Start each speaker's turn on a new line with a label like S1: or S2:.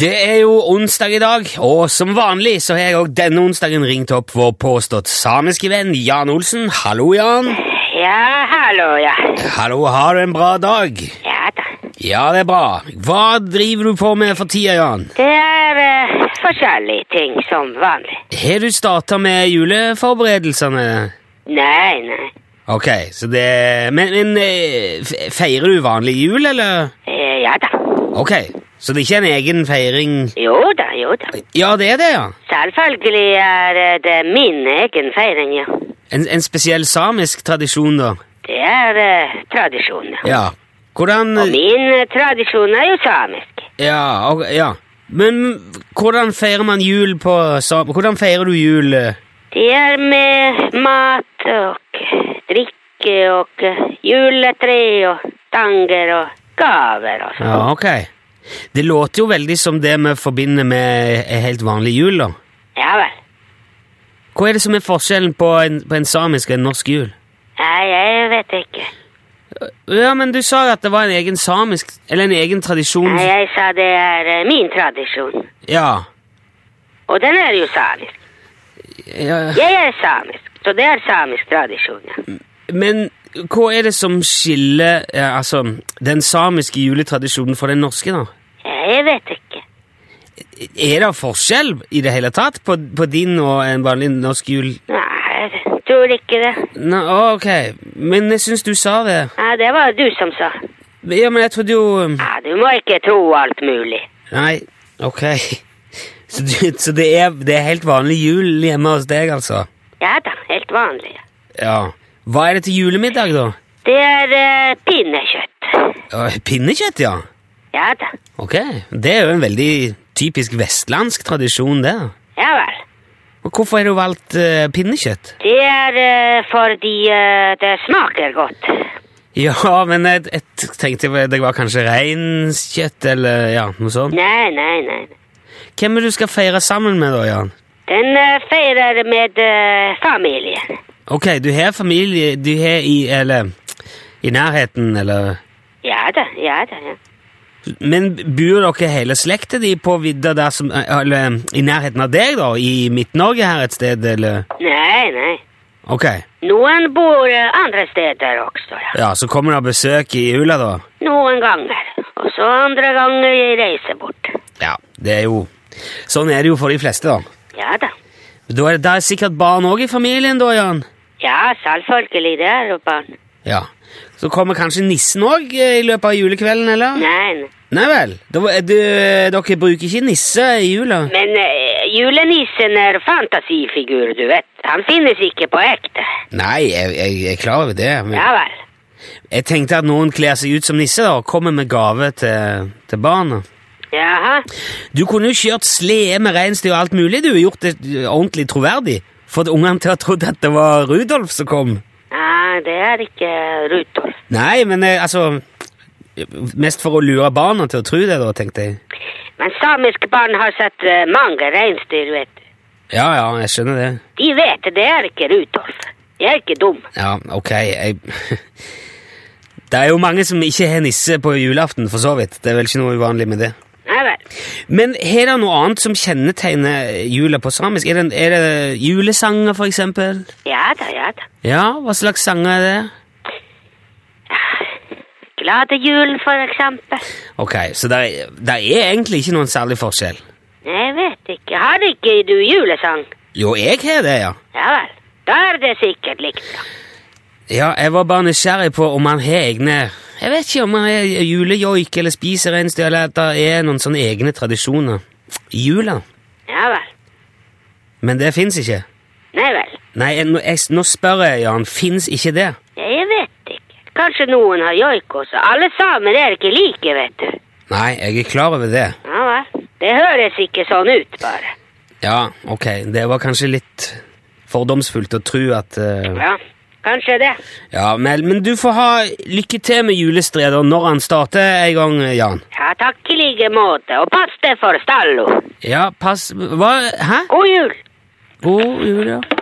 S1: Det er jo onsdag i dag, og som vanlig så har jeg òg denne onsdagen ringt opp vår påstått samiske venn Jan Olsen. Hallo, Jan.
S2: Ja, hallo, ja.
S1: Hallo, har du en bra dag?
S2: Ja da.
S1: Ja, det er bra. Hva driver du på med for tida, Jan?
S2: Det er eh, forskjellige ting som vanlig.
S1: Har du starta med juleforberedelsene?
S2: Nei, nei.
S1: Ok, så det Men, men eh, fe- feirer du vanlig jul, eller?
S2: Eh, ja da.
S1: Ok, så det er ikke en egen feiring
S2: Jo da, jo da.
S1: Ja, det er det, ja.
S2: Selvfølgelig er eh, det min egen feiring, ja.
S1: En, en spesiell samisk tradisjon, da.
S2: Det er eh, tradisjon. ja.
S1: Ja. Hvordan
S2: Og min eh, tradisjon er jo samisk.
S1: Ja, ok, ja. Men hvordan feirer man jul på sa- Hvordan feirer du jul? eh?
S2: Det er med mat og eh, drikke og eh, juletre og stanger og gaver og sånn.
S1: Ja, ok. Det låter jo veldig som det vi forbinder med en helt vanlig jul, da.
S2: Ja vel.
S1: Hva er det som er forskjellen på en, på en samisk og en norsk jul?
S2: Nei, jeg vet ikke.
S1: Ja, men du sa jo at det var en egen samisk Eller en egen tradisjon
S2: Nei, jeg sa det er eh, min tradisjon.
S1: Ja.
S2: Og den er jo samisk.
S1: ja.
S2: Jeg er samisk, så det er samisk tradisjon. ja.
S1: Men hva er det som skiller eh, altså, den samiske juletradisjonen fra den norske, da?
S2: Jeg vet ikke.
S1: Er det forskjell i det hele tatt på, på din og en vanlig norsk jul?
S2: Nei, jeg tror ikke det.
S1: Nå, å, ok, men jeg syns du sa det.
S2: Nei, det var du som sa.
S1: Ja, men jeg trodde jo um,
S2: Ja, du må ikke tro alt mulig.
S1: Nei, ok. Så, du, så det, er, det er helt vanlig jul hjemme hos deg, altså?
S2: Ja da, helt vanlig. ja.
S1: Ja. Hva er det til julemiddag, da?
S2: Det er eh, pinnekjøtt.
S1: Å, Pinnekjøtt, ja.
S2: Ja da.
S1: Ok, Det er jo en veldig typisk vestlandsk tradisjon, det.
S2: Ja vel.
S1: Og Hvorfor har du valgt eh, pinnekjøtt?
S2: Det er eh, fordi eh, det smaker godt.
S1: Ja, men jeg, jeg tenkte det var kanskje reinskjøtt eller ja, noe sånt.
S2: Nei, nei, nei.
S1: Hvem er det du skal feire sammen med, da, Jan?
S2: Den eh, feirer med eh, familien.
S1: Ok, du har familie Du har i Eller i nærheten, eller
S2: Ja da, ja da. ja.
S1: Men bor dere hele slekta di på vidda der som eh, Eller i nærheten av deg, da? I Midt-Norge her et sted, eller
S2: Nei, nei.
S1: Ok.
S2: Noen bor eh, andre steder også, ja.
S1: Ja, så kommer det besøk i jula, da?
S2: Noen ganger. Og så andre ganger jeg reiser bort.
S1: Ja, det er jo Sånn er det jo for de fleste, da.
S2: Ja da.
S1: Da er det, der er sikkert barn òg i familien, da, Jan?
S2: Ja, selvfølgelig, det er jo barn.
S1: Ja. Så kommer kanskje nissen òg i løpet av julekvelden, eller?
S2: Nei, nei.
S1: Nei vel. Da, eh, du, dere bruker ikke nisse i jula?
S2: Men eh, julenissen er fantasifigur, du vet. Han finnes ikke på ekte.
S1: Nei, jeg, jeg, jeg er klar over det. Men...
S2: Ja vel.
S1: Jeg tenkte at noen kler seg ut som nisse da, og kommer med gave til, til barna.
S2: Jaha.
S1: Du kunne jo kjørt slede med reinsdyr og alt mulig, du. Gjort det ordentlig troverdig. Fått ungene til å tro at det var Rudolf som kom.
S2: Nei, det er ikke Rudolf.
S1: Nei, men eh, altså Mest for å lure barna til å tro det, da, tenkte jeg.
S2: Men samiske barn har sett eh, mange reinsdyr, vet du.
S1: Ja, ja, jeg skjønner det.
S2: De vet det er ikke Rudolf. De er ikke dum.
S1: Ja, ok, jeg Det er jo mange som ikke har nisse på julaften, for så vidt. Det er vel ikke noe uvanlig med det.
S2: Nei vel.
S1: Men er det noe annet som kjennetegner jula på samisk? Er det, er det julesanger, for eksempel?
S2: Ja da, ja da.
S1: Ja, hva slags sanger er det?
S2: Glade jul, for eksempel.
S1: Ok, så det er, det er egentlig ikke noen særlig forskjell.
S2: Jeg vet ikke. Har ikke du julesang?
S1: Jo, jeg har det, ja.
S2: Ja vel. Da er det sikkert likt. da.
S1: Ja, jeg var bare nysgjerrig på om han har egne Jeg vet ikke om han har julejoik eller spiser reinsdyr, eller at det er noen sånne egne tradisjoner i jula.
S2: Ja vel.
S1: Men det fins ikke.
S2: Nei vel.
S1: Nei, jeg, nå- jeg, nå spør jeg, Jan. Fins ikke det?
S2: Jeg vet ikke. Kanskje noen har joik også. Alle samer er ikke like, vet du.
S1: Nei, jeg er klar over det.
S2: Ja vel. Det høres ikke sånn ut, bare.
S1: Ja, ok, det var kanskje litt fordomsfullt å tro at eh,
S2: Ja, kanskje det.
S1: Ja, men, men du får ha lykke til med julestredet når han starter en gang, Jan.
S2: Ja, takk i like måte. Og pass deg for stallo.
S1: Ja, pass Hva? Hæ?
S2: God jul!
S1: God jul, ja.